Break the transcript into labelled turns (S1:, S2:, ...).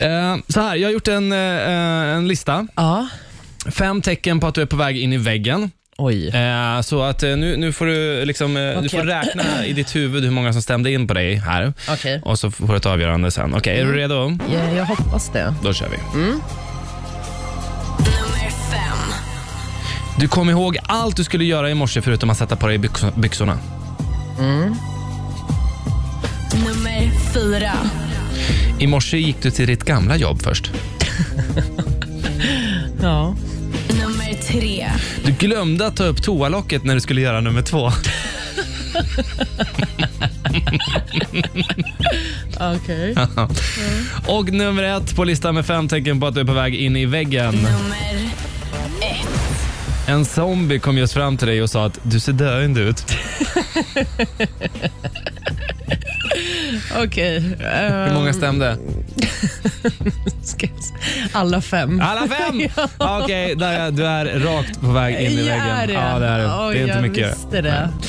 S1: Eh, så här, jag har gjort en, eh, en lista.
S2: Ja.
S1: Fem tecken på att du är på väg in i väggen.
S2: Oj.
S1: Eh, så att eh, nu, nu får du, liksom, eh, du
S2: Okej.
S1: får räkna i ditt huvud hur många som stämde in på dig här.
S2: Okej. Mm.
S1: Och så får du ett avgörande sen. Okej, är du redo?
S2: Ja, jag hoppas det.
S1: Då kör vi.
S2: Mm.
S3: Nummer fem.
S1: Du kom ihåg allt du skulle göra i morse förutom att sätta på dig byxo- byxorna.
S3: Nummer fyra.
S1: I morse gick du till ditt gamla jobb först.
S2: Ja.
S3: Nummer tre.
S1: Du glömde att ta upp toalocket när du skulle göra nummer två.
S2: Okej.
S1: Och nummer ett på listan med fem tecken på att du är på väg in i väggen.
S3: Nummer ett.
S1: En zombie kom just fram till dig och sa att du ser döende ut.
S2: Okej.
S1: Hur
S2: eh,
S1: många stämde?
S2: ska jag s- Alla fem.
S1: Alla fem! Ja, Okej, där är- du är rakt på väg in i
S2: Jag
S1: väggen.
S2: är det.
S1: Ja, det är du.
S2: Oj,
S1: Det är inte
S2: jag
S1: mycket.
S2: visste det.